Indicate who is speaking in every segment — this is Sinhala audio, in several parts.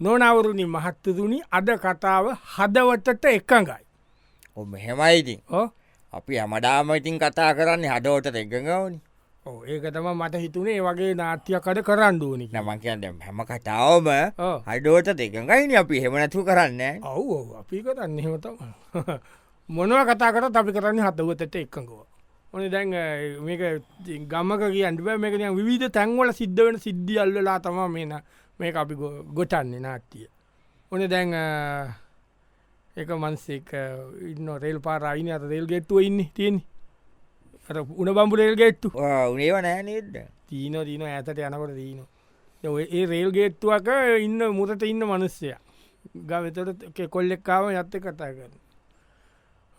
Speaker 1: නොනවරුණි මහත්තතුනි අද කතාව හදවතට එකඟයි.
Speaker 2: ඔම හෙමයිඉතින්
Speaker 1: ඕ?
Speaker 2: අපි හමඩාම ඉතින් කතා කරන්නේ හදෝට එක්ගවනි
Speaker 1: ඔව්, ඒක තම මට හිතුනේ ඒ වගේ නාට්‍යකද කරන්දුවනි
Speaker 2: නමන් කියන්න හැම කතාවම
Speaker 1: ඔව්
Speaker 2: හඩෝට දෙකඟයින අපි හෙමනැතු කරන්න
Speaker 1: ඔව්, අපි කරන්න හෙමතම මොනව කතා කර අපි කරන්න හදවතට එකඟව. ඕන දැන් අ, මේක ගම්මක කියන්ටබ මේකන විධ තැන්වල සිද්ධ වෙන සිද්ධියල්ලලා තම මේන මේ අපි ගො- ගොටන්නේ නාට්ටිය. ඕන දැන් අ, එක මන්සේක ඉන්න රෙල් පාරයින අත රෙල් ගෙට්ටුව ඉන්න තියෙන උන බම්පු රෙල් ගෙට්ටු
Speaker 2: උනේව නෑ නේද
Speaker 1: තිීන දීන ඇතට යනකොට දීන ඒ රේල් ගේට්ටුවක ඉන්න මුරට ඉන්න මනුස්සය ගවිතට කොල්ලෙක්කාව යත්ත කතා කරන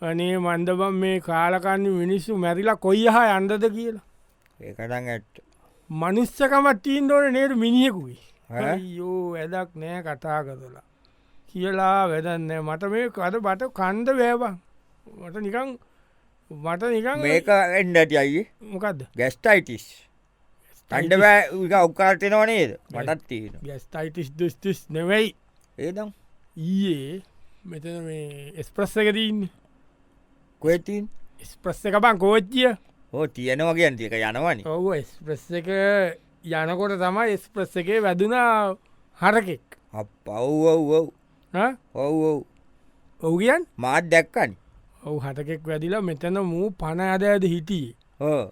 Speaker 1: අනේ මන්දබම් මේ කාලකන්න මිනිස්සු මැරිලා කොයි හා අන්දද කියලා
Speaker 2: ඒකටන් ඇත්
Speaker 1: මනුස්සකමත් තීන්දෝන නේට මිනිියෙකුයි
Speaker 2: ඈ?
Speaker 1: යෝ වැදක් නෑ කතා කරලා කියලා වැදන්න මට මේ කද බට කන්ද වෑබන් මට නිකං මට නිකං
Speaker 2: මේක එන්නට අයි
Speaker 1: මොකක්ද
Speaker 2: ගැස්ටයිටිස් අඩබෑ ඔක්කාර්ටයනව නේද මටත් තියෙන
Speaker 1: ගැස්ටයිටිස් දස්ටිස් නෙවෙයි
Speaker 2: ඒදම්
Speaker 1: ඊයේ මෙතන මේ එස්ප්‍රස්ස එකතින්න
Speaker 2: කොතින්
Speaker 1: ස්ප්‍රස්ස එක බං කෝච්චිය
Speaker 2: හෝ තියෙනවා කියන් තික යනවනි
Speaker 1: ඔව ස්ප්‍රස්ස එක යනකොට තමයි ස්ප්‍රස්ස එකේ වැදුනා හරකෙක්
Speaker 2: පව්වව්
Speaker 1: ඈ?
Speaker 2: ඔව්වව්
Speaker 1: ඔව් කියන්
Speaker 2: මාත් දැක්කන්
Speaker 1: ඔවු හටකෙක් වැදිලා මෙතන මූ පණ ඇද ඇද හිටියේ
Speaker 2: හෝ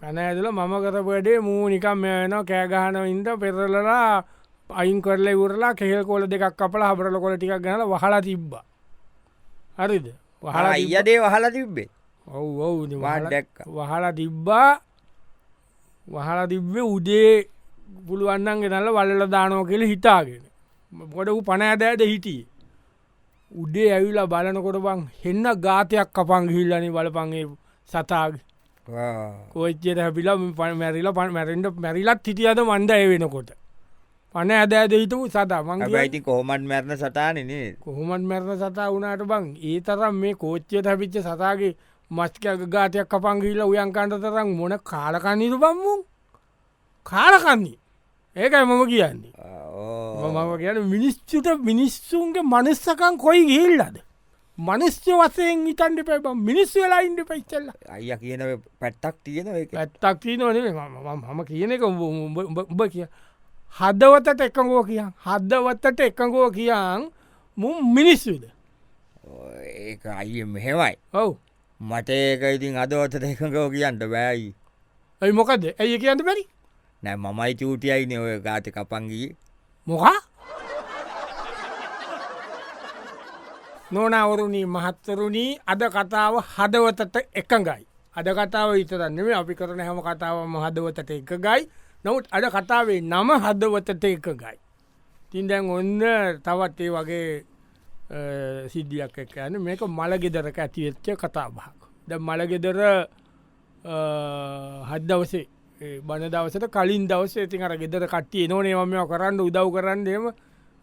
Speaker 1: පැන ඇදල මම කරපඩේ මූ නිකම් මෙන කෑගහනවින්ට පෙරලලා පයින් කරල ගුරලා කෙල් කොල දෙකක් අපල හබරල කොල ටික් ගැන වහලා තිබ්බා හරිද වහලා තිබ්බා.
Speaker 2: අයියදේ වහලා තිබ්බේ
Speaker 1: ඔව් ඔව් ඉතින්
Speaker 2: වාඩ්
Speaker 1: වහලා-
Speaker 2: දැක්කා.
Speaker 1: වහලා තිබ්බා වහලා තිබ්බේ උදේ පුළුවන්න්නන් ගෙනල්ල වල්ල දානෝ කෙළ හිතාගෙන ගොඩ වූ පණ ඇදෑද හිටිය උඩේ ඇවිලා බලනකොට බං හෙන්න ගාතයක් කපන් හිල්ලනි බලපන්ගේ සතාග
Speaker 2: ආ.
Speaker 1: කෝච්චයට හැපිලා පන මැරිල පන් මැරෙන්ට මැරිලත් හිටියද මන්ද ඇ වෙනකොට පන ඇද ඇද හිටපු සතා මං
Speaker 2: හැබයිති කොහොමන් මැරණ සටානනේ
Speaker 1: කොහොමත් මැරණ සතා වනාට බං ඒ තරම් මේ කෝච්චය තැපිච්ච සතාගේ මස්කක ගාතයක් කපංගිල්ල උයන්කන්ට තරම් මොන කාලකන්නීතු බම්මුන් කාලකන්නේ ඒකයි මම කියන්නේ මම කියන මිනිස්්චුට මිනිස්සුන්ගේ මනස්සකන් කොයි ගිල්ලද මනස්්‍ය වසයෙන් ඉතන්ඩ පැබ මිනිස් වෙලා ඉන්ඩ පච්චල්ල
Speaker 2: අයිය කියන පැත්තක් තියෙන එක
Speaker 1: ඇත්තක් තිීනවනේ හම කියන එක උඹ- උඹ උඹ- උඹ කිය හදවතට එකඟෝ කියන් හදවතට එකඟෝ කියන් මුම් මිනිස්සුද
Speaker 2: ඒ අයිය මෙහෙමයි
Speaker 1: ඔව්
Speaker 2: මට ඒක ඉතින් අදෝත දෙකකෝ කියන්නට බෑයි
Speaker 1: ඇයි මොකද ඇයි කියන්න බැරි
Speaker 2: නෑ මමයි චූටියයි නය ගාත කපන්ගී
Speaker 1: මොකා නොනවරුණී මහත්තරුණී අද කතාව හදවතට එකඟයි. අද කතාව ඉතරන්නේ අපි කරන හැම කතාවම හදවතට එකගයි නොවත් අද කතාවේ නම හදවතට එකගයි. තින්දැන් ඔන්න තවත් ඒ වගේ අ, සිද්ධියක් එක යන මේක මළගෙදරක ඇතිවෙච්ච කතාබහක්. ද මළගෙදර හද්දවසේ බණ දවසට කලින් දවස ඉතින් අර ගෙදර කට්ටිය නොනේමම කරන්න උදව් කරන්නේම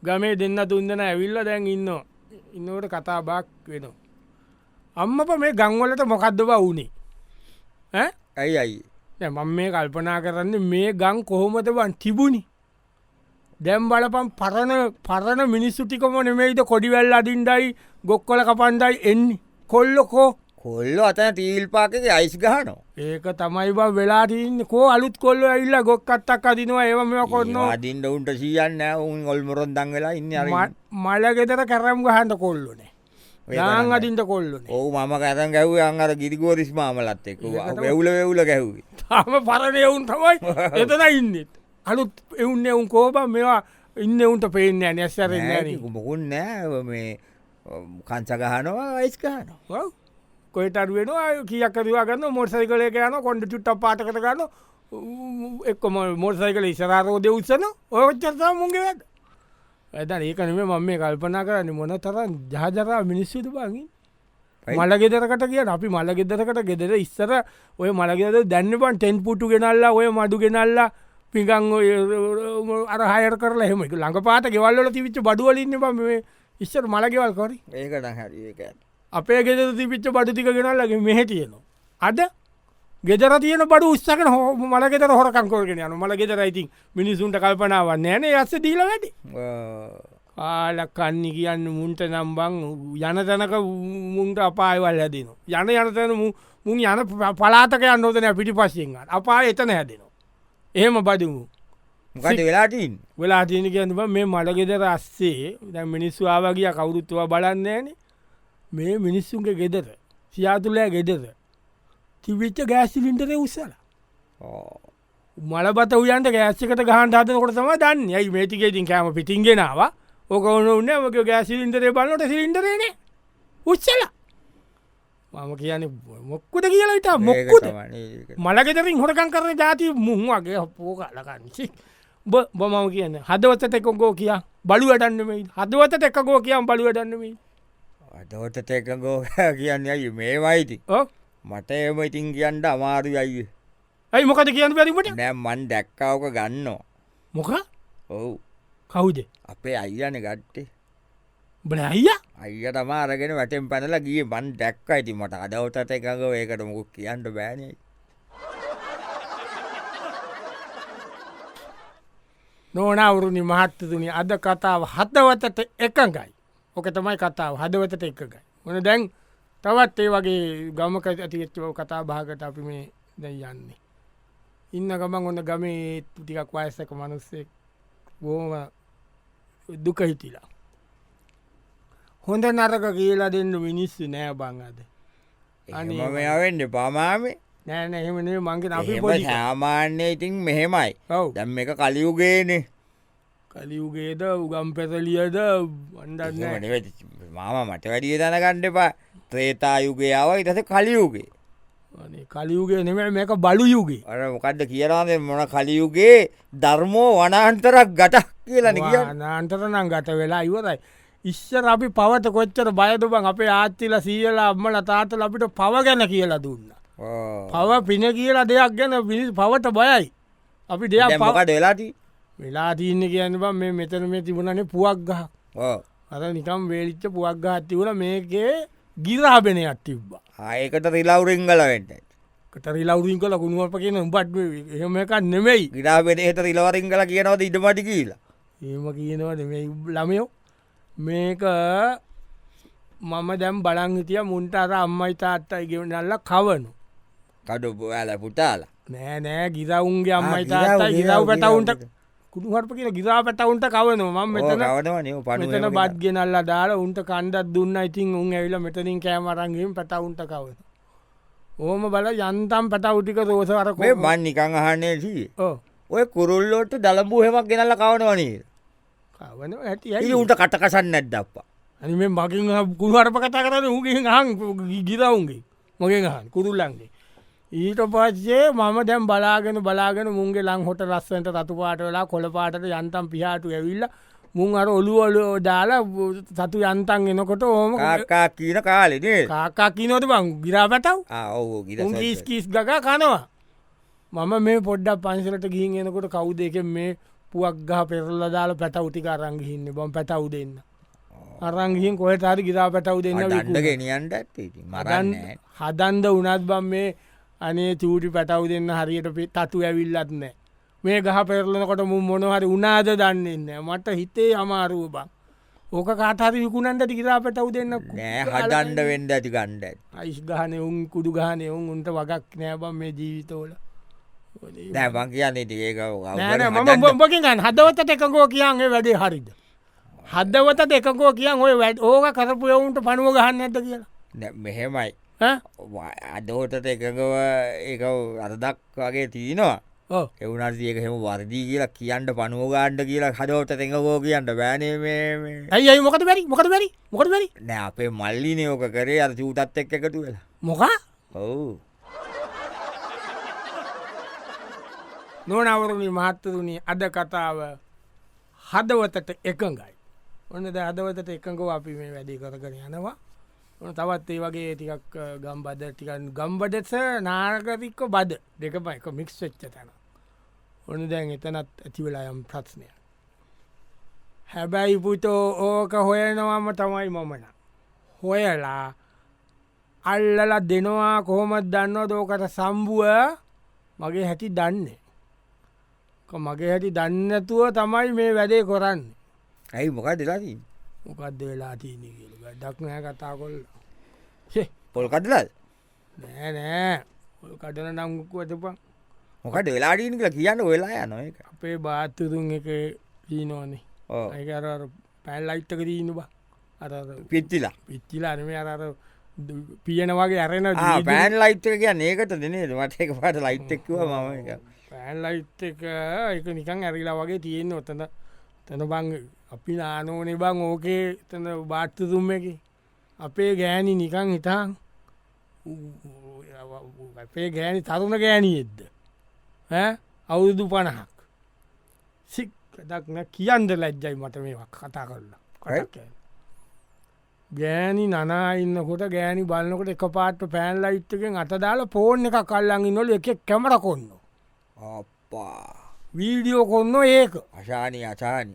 Speaker 1: ගමේ දෙන්න තුන්දන ඇවිල්ල දැන් ඉන්න ඉන්නවට කතාබාක් වෙනවා. අම්මප මේ ගංවලට මොකක්ද බ වුණේ ඈ?
Speaker 2: ඇයි අයි
Speaker 1: දැන් මම මේ කල්පනා කරන්න මේ ගං කොහොමද වන් තිබුණි දැම් බලපම් පරණ පරණ මිනිස්සු ටිකම නෙමෙයිද කොඩිවැල් අඩින්ඩයි ගොක්කොල කපන්ඩයි එන්නේ කොල්ලොකෝ
Speaker 2: කොල්ලො අතන තීල් පාකක අයිස් ගහනෝ
Speaker 1: ඒක තමයි බ වෙලාටන්න කෝ අලුත් කොල්ල ඇල්ල ගොක්කත්තක් අදිනවා ඒව මෙ කොන්නවා
Speaker 2: අදින්ට උන්ට සියන්න උන් ඔල්මොරොන් දංගලා ඉන්න අර
Speaker 1: මලගෙතර කැරම් ගහන්ට කොල්ලුනේ
Speaker 2: ඔය
Speaker 1: යාන්
Speaker 2: කරන්නේ.
Speaker 1: අදින්ට කොල්ලුනේ
Speaker 2: ඔහු මම කරන් ගැව් අංගර ගිරිගෝරිස් මාමලත් එක් වැවුල වෙවුල ගැව්ේ
Speaker 1: තාම පරණ එවුන් තමයි එතන ඉන්නෙත් අලුත් එවුන් එවුන් කෝබ මේවා ඉන්න එවුන්ට පේන්න ඇන ඇස්සරෙන්නේ
Speaker 2: මොකුන් නෑ මේ කංසගහනවා අයිස්ගහන
Speaker 1: කොයිට අරුවෙනවා කියකරවා ගන්න මොර්සයි කලේ යන කොඩ චුට්ට පාට කර ගන්න එක්ම මොර්සයි කල ඉසරරෝදය උත්සන ඔයච්චරතා මුන්ගේ වැද ඇත ඒකනම මම මේ කල්පනා කරන්න මොන තරන් ජාජරා මිනිස්සුතු බගින්
Speaker 2: ඇයි?
Speaker 1: මලගෙදරකට කිය අපි මලගෙදරකට ගෙදර ඉස්සර ඔය මලගෙද දැන්නපන් ටෙන් පුටු ගෙනල්ලා ඔය මඩු ගෙනල්ලා පිකං ඔය අරහයර කරලා හෙම ළඟ පාට ගෙවල්ල තිවිච්ච බඩුවලින්න බම මේ ඉස්සර මලගෙවල් කොරි
Speaker 2: ඒකට හරි ඒක ඇත්ත.
Speaker 1: අපේ ගෙද තිපිච්ච බඩිතික ගෙනල්ලගේ මෙහ තියෙනවා. අද ගෙදර තියන බඩු උත්සක හෝ මලගෙත හොරකංකෝගෙන යන මලගෙදර ඉතින් මිනිසුන්ට කල්පනාවන්න ෑන ඇස දීල වැඩි
Speaker 2: ආ.
Speaker 1: කාල කන්න කියන්න මුන්ට නම්බං යන තැනක මුන්ට අපායවල් හැදනවා. යන යනතැන මුන් යන ප- පලාතක අන්නෝතන පිටි පස්සෙන්ගන්න අපා එතන හැදෙනවා. එහෙම බදමු.
Speaker 2: මොකද වෙලාටීන්
Speaker 1: වෙලා තියෙන කියන්න බෑ, මේ මළගෙද රස්සේ දැ මිනිස්වාාවගිය කවුරුත්තුව බලන්නේන මේ මිනිස්සුන්ගේ ගෙදර සියාතුලෑ ගෙදර තිවිච්ච ගෑස්සිලින්ටරේ උත්සල මලබත උයන්ට ගෑස්සිකට ගහන්ට හතකොට තම දන්න යයි මේටිකේතින් කෑම පිටින්ගෙනවා ඕක ඔන්න උන්න මක ගෑසිලින්ටරේ බලට සිලින්ටරේන උච්චල මම කියන මොක්කුට කියලා ඉතා මොක්කුද මලගෙතරින් හොටකන් කරන ජාති මුහුවගේ හොපෝ කලකන්සි බ බොමම කියන්න හදවතට එකොකෝ කියා බලුවටන්නමයි හදවතට එකකෝ කියම් බලුවටන්නමයි
Speaker 2: අදෝට තේකගෝ කියන්න ඇයි මේවයිති
Speaker 1: ඕ
Speaker 2: මට එම ඉතින් කියන්ට අමාරු අයි
Speaker 1: ඇයි මොකද කියන්න බැරිමට
Speaker 2: නෑ මන් දැක්කාවක ගන්නවා
Speaker 1: මොක
Speaker 2: ඔවු
Speaker 1: කවුද
Speaker 2: අපේ අයියන ගට්ටේ
Speaker 1: බලයිය
Speaker 2: අයිය තමාරගෙන වැටෙන් පැනල ගිය බන් දැක්ක ඇති මට අදවතට එකඟ ඒකට මොකුත් කියන්න බෑනේ
Speaker 1: නෝනවුරුණි මහත්තතුනි අද කතාව හදවතට එකඟයි ඕක තමයි කතාව හදවතට එකඟයි ඕන දැන් තවත් ඒ වගේ ගමක ඇතිවෙච්චව කතා භාගට අපි මේ දැන් යන්නේ ඉන්න ගමන් ඔන්න ගමේ ටිකක් වයසක මනුස්සෙක් බෝම දුක හිටිලා හොඳ නරක කියලා දෙන්න මිනිස්සු නෑ බං අද අනේ
Speaker 2: එහෙම මෙයාවෙන්න පාමාමේ
Speaker 1: නෑන එහෙමනේ මංගේ අපි
Speaker 2: එහෙම
Speaker 1: පොඩි
Speaker 2: සාමාන්‍ය ඉතින් මෙහෙමයි
Speaker 1: ඔව්
Speaker 2: දැම් එක කලියුගේනේ
Speaker 1: කලියුගේද උගම් පැසලියද වඩන්න
Speaker 2: මාම මට වැඩිය දනගණ්ඩ එපා ත්‍රේතා යුගයාව ඉටස කලියුගේ
Speaker 1: අනේ කලියුගේ නෙම මේක බලු යුගේ
Speaker 2: අර මොකක්ද කියරාද මොන කලියුගේ ධර්මෝ වනාන්තරක් ගටක් කියලන කිය
Speaker 1: නාන්තරනම් ගත වෙලා ඉවරයි ඉස්සර අපි පවත කොච්චර බයතුබන් අපේ ආත්තිල සීියලා අම්මල තාතල අපිට පව ගැන කියලා දුන්න පව පින කියලා දෙයක් ගැන පිනිස් පවට බයයි අපි දෙයක් පව
Speaker 2: මොකට වෙලාටි
Speaker 1: වෙලා තියන්න කියන්න බ මේ මෙතන මේ තිබුණනේ පුවක් ගහ
Speaker 2: ඕ.
Speaker 1: අර නිකම් වේලිච්ච පුවක් ගහත්තිවල මේකේ ගිරාබෙනයක් තිබ්බා
Speaker 2: ආයකට රිලවරිංගලවෙන්ට
Speaker 1: කතරි ලවරින් කල ගුණුවප කියන උඹට එහෙම එකක් නෙමෙයි
Speaker 2: ගිඩාබෙන එහට රිලවරිංගල කියනවද ඉඩමටි කියලා
Speaker 1: ඒම කියනවද මේ ළමයෝ මේක මම දැම් බලංහිතිය මුන්ට අර අම්මයි තාත්තයි ගෙවනල්ල කවනු
Speaker 2: කඩුපු ඇල පුටාල
Speaker 1: නෑ නෑ ගිරවුන්ගේ අම්මයි
Speaker 2: ආ, ගිරව්,
Speaker 1: තාත්තයි ගිරව්
Speaker 2: ගිරව්,
Speaker 1: පැටවුන්ට
Speaker 2: ගිරව්.
Speaker 1: කුණුහරප කියන ගිරා පැටවුන්ට කවනු ම මෙතන
Speaker 2: ගවනවන
Speaker 1: මෙතන
Speaker 2: පන
Speaker 1: බත් ගෙනල්ල දාලා උන්ට කණ්ඩත් දුන්න ඉතින් උන් ඇවිල මෙතනින් කෑමරන්ගින් පැටවුන්ට කවන ඕම බල යන්තම් පැටවුටික දෝසවරකෝ
Speaker 2: මේ මන් නිකං අහන්නේ සී ඔය කුරුල්ලොට දළඹූ හෙමක් ගෙනල්ල කවනවනේ
Speaker 1: කවන ඇති ඇයි
Speaker 2: ඇයි උට කටකසන්න නැද්ද අපා
Speaker 1: අනි මේ මකින් කුරුහරප කතා කරන උගේ හන් ගිරවුන්ගේ මගේ හන් කුරුල්ලන්ගේ ඊට පස්සේ මම දැම් බලාගෙන බලාගෙන මුන්ගේ ලං හොට රස්සන්ට රතුපාට වෙලා කොළපාටට යන්තම් පිහාටු ඇවිල්ල මුන් අර ඔළුවලෝ දාලා සතු යන්තන් එනකොට ඕම
Speaker 2: කාකා කියන කාලෙනේ
Speaker 1: කාකා කිනොට බං ගිරාපටව්
Speaker 2: ඔවෝ ගිර
Speaker 1: උන් කිස් කිස් ගක කනවා මම මේ පොඩ්ඩක් පන්සලට ගිහින් එනකොට කවුද එක මේ පුවක් ගහ පෙරල්ල දාලා පැටවුටි අරංගිහින්න බොම් පැටව් දෙන්න අරංගිහින් කොහ තරි ගිරා පැටව් දෙන්න
Speaker 2: දඩ
Speaker 1: විකුණනවා.
Speaker 2: ගෙනියන්ට ඇත්තේ මරන්න
Speaker 1: හදන්- හදන්ද උනත් බම් මේ අනේ චූටි පැටව් දෙන්න හරියට පි- තතු ඇවිල්ලත් නෑ මේ ගහ පෙරලනකොට මු මොනහරි උනාද දන්නන්න මට හිතේ අමාරුව බං ඕක කාටහරි විකුණන්ට ටිකිරා පැටව් දෙන්න
Speaker 2: නෑ හදන්ඩ වෙන්ඩ ඇති ගණ්ඩ
Speaker 1: අයිස් ගහන උන් කුඩු ගහන උන් උන්ට වගක් නෑබම් මේ ජීවිතෝල
Speaker 2: නෑබං කියන්නේ ඒක
Speaker 1: නෑන මම බොම්බකින් ගන්න හදවතට එකකෝ කියන්ගේ වැඩේ හරිද හදවතට එකකෝ කියන් ඔය වැඩ ඕක කරපු ඔවුන්ට පනුව ගහන්න ඇත කියලා
Speaker 2: මෙහෙමයි
Speaker 1: ඈ?
Speaker 2: අදෝටට එකකව ඒක අරදක් වගේ තියෙනවා
Speaker 1: ඔව්.
Speaker 2: එවුනට ඒක හෙම වර්දී කියලා කියන්න පනුවගාණ්ඩ කියලා හදෝට තැඟකෝ කියන්න බෑනේ මේ
Speaker 1: ඇයි ඇයි මොකද බැරි මොකද බැරි මොකද බැරි
Speaker 2: නෑ අපේ මල්ලි නයෝක කරේ අර චූටත් එක් එකතු වෙලා
Speaker 1: මොකා
Speaker 2: ඔවු
Speaker 1: නොනවරුණි මහත්තතුනි අද කතාව හදවතට එකඟයි. ඔන්න ද හදවතට එකඟව අපි මේ වැඩි කරගෙන යනවා. ඔන්න තවත් ඒ වගේ ටිකක් අ, ගම්බද ටික ගම්බඩස නාරගතික්ක බද දෙකම එක මික්ස් වෙච්ච තැන. ඔන්න දැන් එතනත් ඇතිවෙලා යම් ප්‍රශ්නය. හැබැයි පුතෝ ඕක හොයනවාම තමයි මමන. හොයලා අල්ලල දෙනවා කොහොමත් දන්න දෝකට සම්බුව මගේ හැටි දන්නේ. ක- මගේ හැටි දන්නතුව තමයි මේ වැඩේ කොරන්න
Speaker 2: ඇයි මොකක් දෙලාදී
Speaker 1: මොකක්ද වෙලා තියන කියල වැඩක් නෑ කතාකොල්
Speaker 2: පොල් කඩලාද
Speaker 1: නෑ නෑ ඔය කටන නංගුක්කු ඇතපා
Speaker 2: මොකට වෙලාඩීන් කල කියන්න වෙලා යන එක
Speaker 1: අපේ බාත්තුතුන් එක දීනෝනේ
Speaker 2: ඕ
Speaker 1: ඒකර පැල් අයිත්තක දීන්න බා අර
Speaker 2: පිත්තිලා
Speaker 1: පිච්චිලා අනම අර දු- පියන වගේ අරෙන
Speaker 2: පෑන් ලයිට් එක කියන්න ඒකට දෙනේද මට එක පාට ලයිට්ක්ව මම එක
Speaker 1: පෑන් ලයිට් එක එක නිකං ඇරිලා වගේ තියෙන ඔතන තැන බං අපි නානෝනේ බං ඕකේ තන බාත්තුතුම් එක අපේ ගෑණි නිකං හිතාන් අපේ ගෑණි තරුණ ගෑණියෙද්ද අවුරුදු පණහක් සික්දක්න කියන්ද ලැජ්ජයි මට මේක් කතා කරලා
Speaker 2: ඇයි?
Speaker 1: කටක් ගෑණි නනා ඉන්නකොට ගෑණි බලන්නකොට එක පාට පෑන් ලයිට්කෙන් අත දාලා පෝර්න් එක කල්ලඟි නොල එක කැමර කොන්න
Speaker 2: අප්පා
Speaker 1: වීඩියෝ කොන්න ඒක
Speaker 2: අශානී අචානි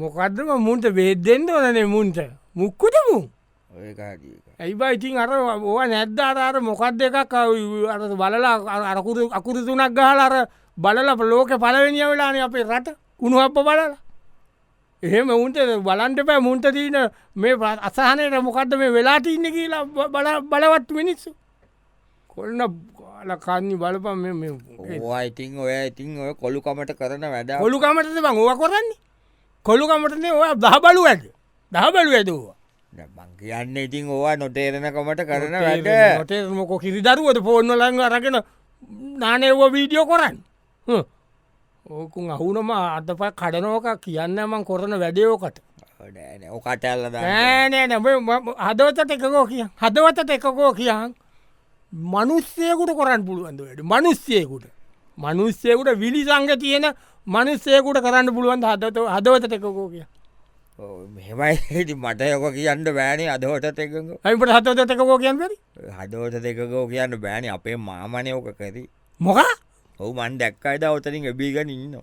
Speaker 1: මොකදම මුන්ට බේද්දෙන්ද ඕනනේ මුන්ට මුක්කුටමු
Speaker 2: ඒකාදී
Speaker 1: ඇයිබා ඉතින් අර ඕ නැද්ද අරාර මොකක්ද එකක් අව් අර බලලා අර අරකුරු අකුරු තුනක් ගහල අර බලල ලෝක පලවෙනිිය වෙලාන අපේ රට කුණු අප බලලා එහෙම උන්ට බලන්ට පෑ මුන්ට තියන මේ ප- අසහනයට මොකක්ද මේ වෙලාට ඉන්න කියලා බ- බල- බලවත් මිනිස්සු කොල්න ල කන්නේ බලපන්
Speaker 2: ඕවා ඉතිං ඔය ඉතිං ඔය කොළුකමට කරන වැඩ
Speaker 1: කොළුකමටද බං ඕව කොරන්නේ කොළුකමටනේ ඔය දහබලු ඇද දහබලු ඇදවා
Speaker 2: බං කියන්න ඉතිං ඕවා නොටේරෙනකමට කරන වැඩ
Speaker 1: මොකෝ කිරි දරුවට පෝර්න ලඟ අරගෙන නානයව වීඩියෝ කොරන්න හ්ම්. ඕකුන් අහුනම අතප කඩනෝක කියන්න මං කොරන වැඩයෝකට
Speaker 2: නෑ ඔකටල්ලද
Speaker 1: නෑනෑ නැ හදවතට එකකෝ කිය හදවතට එකකෝ කියන් මනුස්සයකුට කොරන්න පුළුවන්ද වැඩ මනුස්සයකුට මනුස්සයකුට විලි සංග තියෙන මනුස්සයකුට කරන්න පුළුවන් හදත හදවතට එකකෝ කිය
Speaker 2: මෙමයි ඉති මට යොක කියන්න බෑනේ අදෝටත් එකක
Speaker 1: ඇයිට හදවතට එකකෝ කියන් පරි
Speaker 2: හදෝත දෙකකෝ කියන්න බෑන අපේ මාමනය ඕක කැරී
Speaker 1: මොකා
Speaker 2: ඔහු මන් දැක්ක අයිද ඔතරින් එබීගෙන ඉන්න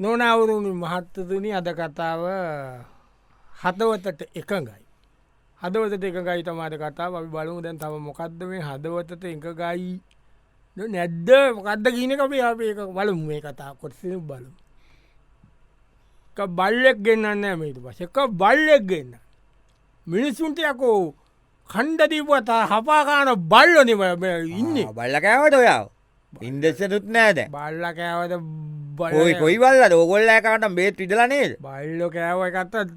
Speaker 1: නොනවුරුණි මහත්තතුනි අද කතාව හදවතට එකඟයි. හදවතට එකඟයි තමාට කතාව අපි බලමු දැන් තම මොකක්ද මේ හදවතට එකගයි නැද්ද මොකක්ද කියනක අපේ අපේ බලමු මේ කතා කොටස බලමු. එක බල්ලෙක් ගෙන්න්න මේට පස එක බල්ලෙක් ගන්න. මිනිස්සුන්ට යකෝ කණ්ඩදීපුවත හපාකාන බල්ලොනිම ඉන්නේ
Speaker 2: බල්ලකෑවට ඔයා ඉන්දෙස්සනුත් නෑද
Speaker 1: බල්ල කෑවද
Speaker 2: ඔයි කොයි බල්ල ඕගොල්ලෑකාට බේත් විදලනේද
Speaker 1: බල්ලො කෑව එකත්ත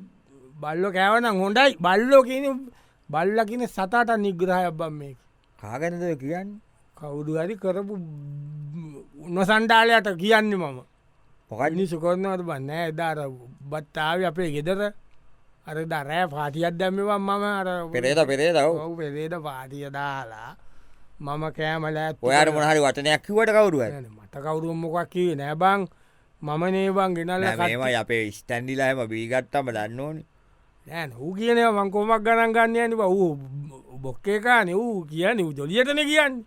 Speaker 1: බල්ලො කෑවන හොඩයි බල්ලෝ කියන බල්ලකින සතාට නිග්‍රහය බම් මේ
Speaker 2: කාගනද කියන්න
Speaker 1: කවුඩු හරි කරපු උන්නසන්ඩාලයට කියන්න මම
Speaker 2: මොකනි
Speaker 1: නිසු කරනවට බන්න එදාර බත්තාව අපේ ගෙදර අර දරෑ පාටියත් දැම්මවම් මම අර
Speaker 2: පෙරේද පෙරේ දව
Speaker 1: ඔව් පෙරේද පාටිය දාලා මම කෑමලෑ
Speaker 2: ඔයාට මොහරි වටනයක් කිවට කවරුව
Speaker 1: මට කවුරුම් මොකක් කිවේ නෑබං මම නේබං ගෙනල්ල
Speaker 2: මේම අපේ ස්ටැන්ඩිලාහම බීගත්තම දන්න ඕනි
Speaker 1: නෑ හූ කියන මංකොමක් ගණන් ගන්නයන වූ බොක්කේකාන වූ කියන ජොලියටන කියන්න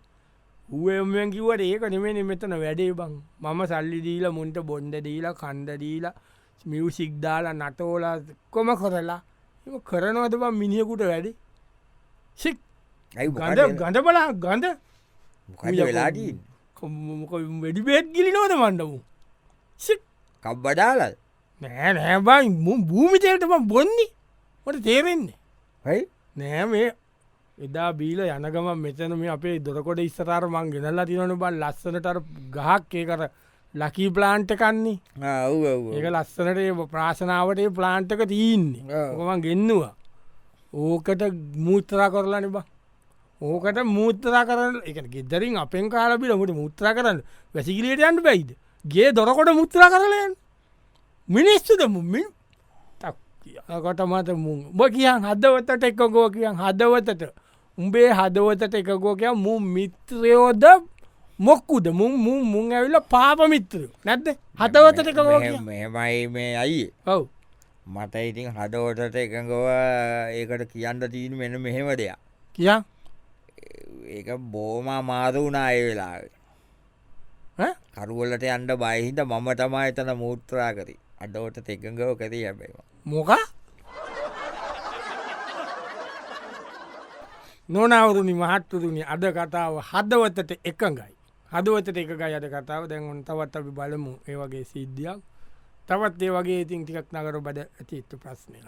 Speaker 1: ඌමෙන් කිවට ඒක නෙමෙන මෙතන වැඩේ බං මම සල්ලි දීලා මුන්ට බොන්්ඩ දීලා කණ්ඩ දීලා මියසික් දාලා නටෝලා කොම කොරලා එම කරනවද බං මිනිියකුට වැඩි සික්
Speaker 2: ඇයි
Speaker 1: ගඳ
Speaker 2: මොකද
Speaker 1: ගඳ බලා ගඳ
Speaker 2: වෙලාඩී
Speaker 1: වැඩි බේත් ගිලි නොද මණ්ඩමු සික්
Speaker 2: කබ්බඩාලල්
Speaker 1: නෑ නෑබයි මු භූමිතයට බං බොන්නේ මට තේරෙන්නේ
Speaker 2: හයි
Speaker 1: නෑ මේ එදා බීල යනගම මෙතන මේ අපේ දොරකොට ඉස්සරාර මං ගෙනල්ලා තිනන බල් ලස්සනට ගහක් ඒ කර ලකී ප්ලාන්ට කන්නේ ඒක ලස්සනට ඒ ප්‍රාශනාවට ඒ ප්ලාන්ටක තියන්නේ
Speaker 2: ඔව්.
Speaker 1: ගමන් ගෙන්නවා ඕකට මුූත්‍රා කරලා නිබ ඕකට මුූත්‍රා කරන එක ගෙදරින් අපෙන් කාලබිලමට මුත්‍රා කරන්න වැසිකිලියට යන්න බැයිද ගේ දොරකොට මුත්‍රා කරලයන් මිනිස්සුද මුමින් කට මත මුන් බ කියන් හදවතට එකකෝ කියන් හදවතට උඹේ හදවතට එකකෝ කිය මු මිත්‍රයෝද මොක්කුද මුන් මුන් මුන් ඇවිල පාප මිත්‍රය නැත්ද හතවතට එකකෝ කිය
Speaker 2: මෙමයි මේ අයි
Speaker 1: ඔව
Speaker 2: මට ඉතින් හදෝටට එකඟව ඒකට කියන්න තිීන් මෙන මෙහෙම දෙයක්
Speaker 1: කියා
Speaker 2: ඒක බෝම අමාරු වුණා ඒ වෙලාව
Speaker 1: ඈ?
Speaker 2: කරුවලට අන්ඩ බයහිද මම තමා එතන මුූත්‍රා කරි අඩෝට තෙක්ගව කැති හැබේ
Speaker 1: මොක නොනවුරුණි මහත්තුරුණි අද කතාව හදවතට එකඟයි හදුවතට එක අයට කතාව දැන්වන් තවත් අපි බලමු ඒ වගේ සිද්ධියක් තවත් ඒ වගේ ඉතින් ටිකක් නගර බඩ ඇතිත්තු ප්‍රශ්නයක්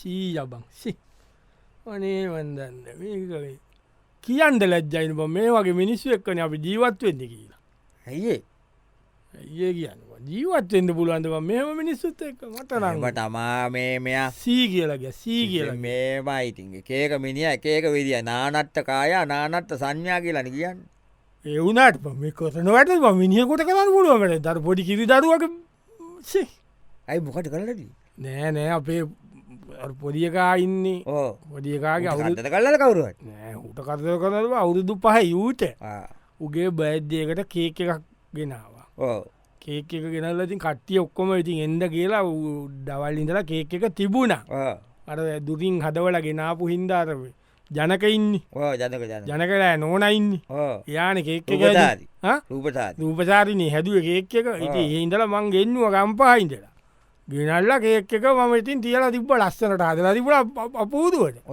Speaker 1: සීයබං සි වනේ වදන්න මේකේ කියන්ද ලැජ්ජයින බ මේ වගේ මිනිස්සු එක්කන අපි ජීවත්වෙන්න කියලා
Speaker 2: ඇයිඒ
Speaker 1: ඒ කියන්න ජීවත්වෙන්ද පුළුවන්දව මෙම මිනිස්සුත් එක් මතරන්න
Speaker 2: තමා මේ මෙයා
Speaker 1: සී කියලගේ සී කියල
Speaker 2: ඉතින් මේවා ඉතින් එකක මිනිිය එකක විදිිය නානත්ත කාය නානත්ත සංඥා කියලන කියන්න
Speaker 1: එවුනට පම කොසනවට මිනිියකොට කරන්න පුළුවමට දර පොඩි කිරි දරුවක සි
Speaker 2: ඇයි මොකට කරලදී
Speaker 1: නෑ නෑ අපේ අර පොඩියකා ඉන්නේ
Speaker 2: ඕ
Speaker 1: පොඩියකාගේ අවුරුදු
Speaker 2: ගන්තට කරල කවරුවට
Speaker 1: නෑ හුට කරදර කරව අවුරුදු පහ යුට උගේ බෑද්දයකට කේක එකක් ගෙනවා
Speaker 2: ඕ
Speaker 1: කේක එක ගෙනල්ලතින් කට්ටිය ඔක්කොම ඉතින් එන්ඩ කියලා දවල් ඉඳලා කේක එක තිබුණ අර දුරින් හදවල ගෙනාපු හින්දාරව ජනකඉන්නේ
Speaker 2: ඕ ජනක ජන
Speaker 1: ජනකලා නෝනයින්නේ
Speaker 2: ඕ
Speaker 1: යාන කේක් එක
Speaker 2: රූපසාරි.
Speaker 1: හා?
Speaker 2: රූපසාත්
Speaker 1: රූපසාරිනය හැදුව කේක් එක ඉති
Speaker 2: ආ.
Speaker 1: හින්දල මං ගෙන්නුව ගම්පාහින්දලා ගෙනල්ල කේක් එක මම ඉතින් තියලා තිබ්බ ලස්සනට හදලා තිබල අපූදුවට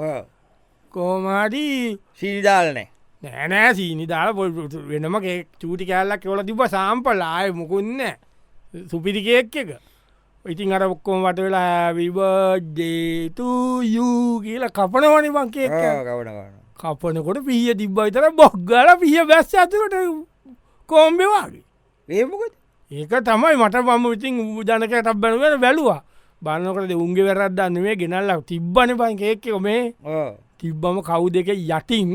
Speaker 1: කෝමාටි
Speaker 2: සිල්දාලනෑ
Speaker 1: නෑනෑ සීනිදාල පොල් වෙනම කේක් චූටි කෑල්ලක් කෙවල තිබ සාම්පල් ආය මොකුන්න සුපිරි කේක් එක ඉතින් අර ඔක්කොම වට වෙලා විබජේතුයූ කියල කපනවනි මං කේක් එක.
Speaker 2: ගවන ගන්න
Speaker 1: කපනකොට පිහිය තිබ්බයිතර බොක්්ගල පිහිය බැස්ස අතුකට කෝම්බෙවාගේ
Speaker 2: ඒමකත්
Speaker 1: ඒක තමයි මට පම ඉතින් ජනකට බැනුවෙන බැලවා බන්නකට උන්ගේ වැරද්දන්න මේ ගෙනල්ලක් තිබ්බන පන් කේක්කෙ මේ
Speaker 2: ඕ
Speaker 1: තිබ්බම කව් දෙක යටින්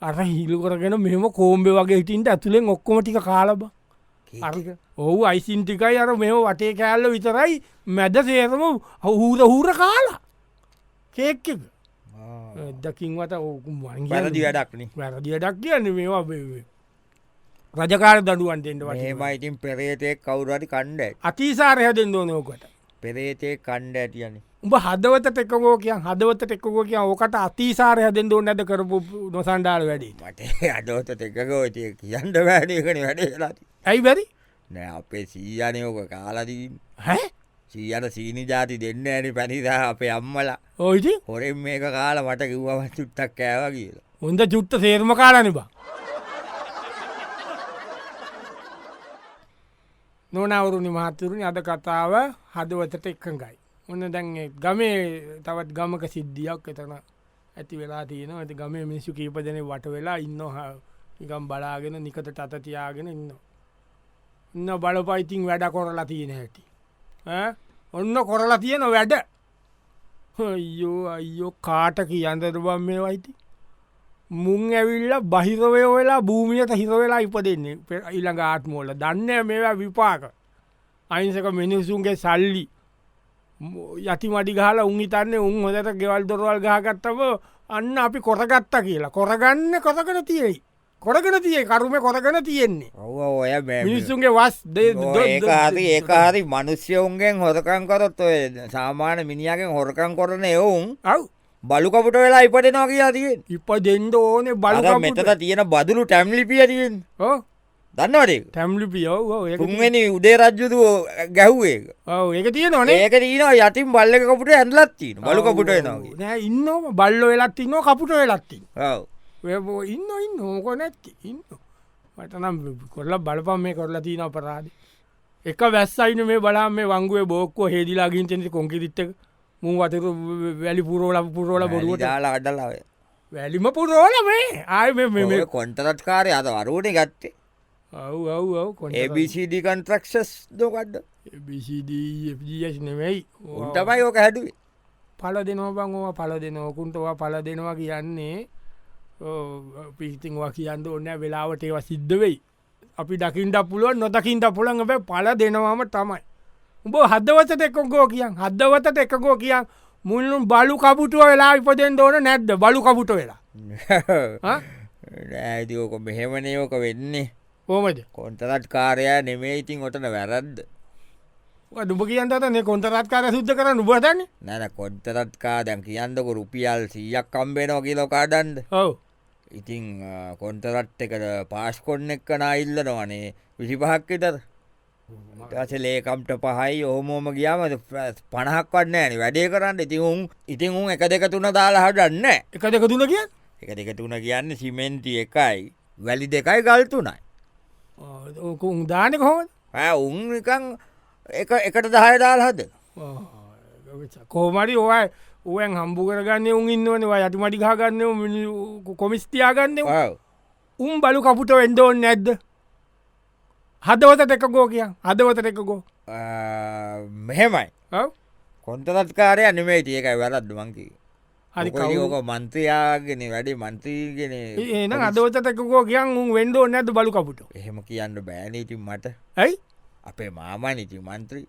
Speaker 1: අර හිල් කරගෙන මෙම කෝම්බෙ වගේ හිටින්ට ඇතුළෙන් ඔක්කොම ටික කාලබ අරික ඔහු අයිසින් ටිකයි අර මෙම වටේ කෑල්ල විතරයි මැද සේරම හූර හූර කාලා කේක්ක දකින්වත ඕකුම්
Speaker 2: පැලදි
Speaker 1: වන්ගේ
Speaker 2: වැඩක්න
Speaker 1: වැරදිියටක් කියන්න මේවා රජකාර දඩුවන්ටෙන්ට වට
Speaker 2: ඒමයි ඉතින් පෙරේතය කවුරටි කණ්ඩ
Speaker 1: අතිසාර හැදෙන් දෝනෝකට
Speaker 2: පෙරේතය කණ්ඩ ඇතියන්නේ
Speaker 1: උඹ හදවත ටෙක්කෝ කියන් හදවත ටෙක්කෝ කිය ඕකට අතිසාර හැදෙන් දෝ නැද කරපු නොසන්ඩාල් වැඩට
Speaker 2: මට අඩෝත එකකෝතිය කියන්න වැඩකන වැඩලාති
Speaker 1: ඇයි බැරි
Speaker 2: නෑ අපේ සීයනයෝක කාලදී
Speaker 1: හැ
Speaker 2: සීයට සීනි ජාති දෙන්න ඇනි පැනිදා අපේ අම්මලා
Speaker 1: ඕයිති
Speaker 2: හොරෙන් මේක කාල මට කිව්වම චුට්ටක් කෑව කියලා
Speaker 1: හොඳ චුත්ත සේර්ම කාලනවා නොනවුරුණි මහතුරුණි අද කතාව හදවතට එක්කඟයි ඔන්න දැන් ඒ ගමේ තවත් ගමක සිද්ධියක් එතන ඇති වෙලා තියෙන ඇති ගමේ මිනිස්සු කීපදන වට වෙලා ඉන්න නිකම් බලාගෙන නිකට අතතියාගෙන ඉන්න ඉන්න බලපයිඉතින් වැඩ කොරලා තියෙන හැටි ඈ? ඔන්න කොරලා තියෙන වැඩ අයියෝ අයියෝ කාට කියන්දරබම් මේ වයිති මුං ඇවිල්ල බහිරවය වෙලා භූමියට හිරවෙලා ඉපදෙන්නේ පෙ- ඊළඟ ආත්මෝල දන්න මේවා විපාක අයින්සක මිනිස්සුන්ගේ සල්ලි මු- යටි මඩි ගහල උන්හිතන්නේ උන් හොදට ගෙවල් දොරවල් ගහගත්තම අන්න අපි කොරගත්තා කියලා කොරගන්න කොතකන තියෙයි කොරගෙන තිය කරුම කොරගන තියෙන්නේ
Speaker 2: ඔව ඔය
Speaker 1: මිනිස්සුන්ගේ වස් දේ- දො- දො-
Speaker 2: ඒකාරි ඒකාරි මනුස්්‍යවුන්ගෙන් හොරකං කරොත් ඔය සාමාන්‍ය මිනිියගෙන් හොරකං කරන එවුන්
Speaker 1: අව්
Speaker 2: බලුකපුට වෙලා ඉපටෙනවා කියලා තියෙන
Speaker 1: ඉප දෙන්ඩ ඕනේ
Speaker 2: අර මෙතට
Speaker 1: බලකමට
Speaker 2: තියෙන බදුලු ටැම්ලිපිය තියෙන දන්නවටේ
Speaker 1: තැම්ලිපියෝ
Speaker 2: තුන්වෙනි උදේ රජ්ජුතුව ගැහ්වේ
Speaker 1: ඒක තිය නොනේ
Speaker 2: ඒක තියෙන යතින් බල්ලකපුට ඇඳලත්තින බලුකපුට එනවා
Speaker 1: නෑ ඉන්න බල්ලෝ වෙලත් ඉන්න කපුට වෙලත්තින්
Speaker 2: ඔව
Speaker 1: ඔයබෝ ඉන්න ඉන්න හෝකො නැත්ති ඉන්න වටනම් කොල්ල බලපම් මේ කොරලා තින අපරාද එක වැස්සයින මේ බලා මේ වංගුව බෝක්කෝ හෙදිලාගින් චෙති කොංකිරිත්තක මුන් වතර වැලි පුරෝල පුරෝල බොරුවට
Speaker 2: දාලා අඩලාවේ
Speaker 1: වැලිම පුරෝල මේ ආය මේ
Speaker 2: කොන්ටරත් කාරය අද වරුවට ගත්තේ
Speaker 1: ඔව් ඔව් ඔව් කොට
Speaker 2: ABCD කන්ට්‍රක්ෂස් දොකඩ්ඩ
Speaker 1: E බිසිදීජස් නෙවෙයි
Speaker 2: උන්ටමයි ඕක හැඩුවේ
Speaker 1: පල දෙනවා බංවා පල දෙනවකුන්ටවා පල දෙනවා කියන්නේ පිහිතිවා කියන්න ඔන්න වෙලාවට ඒවා සිද්ධ වෙයි අපි දකිින්ට පුළුවන් නොතකින්ට පුළන් බ පල දෙනවාම තමයි උඹ හදවතට එකකෝ කියන් හදවතට එකකෝ කියන් මුල්ලුම් බලු කපුටුව වෙලා ඉපදෙන් ඕන නැද්ද බලු කපුට වෙලා ආ?
Speaker 2: නෑදෝක මෙහෙමනයෝක වෙන්නේ
Speaker 1: කොහොමද
Speaker 2: කොන්ටරත් කාරය නෙමේ ඉතින් ඔටන වැරද්ද
Speaker 1: ඔය දුඹ කියන්ටනේ කොන්තරත්කාර සුද්ධ කර නුබතන්න
Speaker 2: නැන කොන්තරත්කා දැන් කියන්නක රුපියල් සීයක් කම්බේනෝ කියලෝකාඩන්ඩ
Speaker 1: ඔව
Speaker 2: ඉතිං කොන්තරට් එකට පාස් කොන්න එක්කන ඉල්ලනවනේ විසිපහක්කෙතර ටසලේකම්ට පහයි ඔහොමෝම ගියාම පණහක් වන්න ඇනි වැඩේ කරන්න ඉතිහුම් ඉතින් උන් එක දෙක තුන දාලා හඩන්න
Speaker 1: එක දෙක තුන කිය
Speaker 2: එක දෙක තුන කියන්න සිමෙන්ති එකයි වැලි දෙකයි ගල්තුනයි.
Speaker 1: ඕක උදානක හෝද
Speaker 2: උන්කං එකට දහය දාල් හද
Speaker 1: කෝමරි ඔය ඔයන් හම්බු කරගන්න උන් ඉන්නවනවා යටි මටි ගාගන්න කොමිස්තියාගන්න උම් බලු කපුට වෙන්ඩෝන් නැද්ද හදවත එකකෝ කිය හදවත එකකෝ
Speaker 2: මෙහෙමයි
Speaker 1: ඔව්?
Speaker 2: කොන්තරත්කාරය අනිමේ තියකයි වැලත් දුවන්කි
Speaker 1: හරි
Speaker 2: ඕක මන්ත්‍රයාගෙන වැඩි මන්ත්‍රීගෙන
Speaker 1: එන අදවත එකකෝ කියන් උන් වෙන්ඩෝ නැද බලු කපුට
Speaker 2: එහෙම කියන්න බෑනීති මට
Speaker 1: ඇයි
Speaker 2: අපේ මාමා නිති මන්ත්‍රී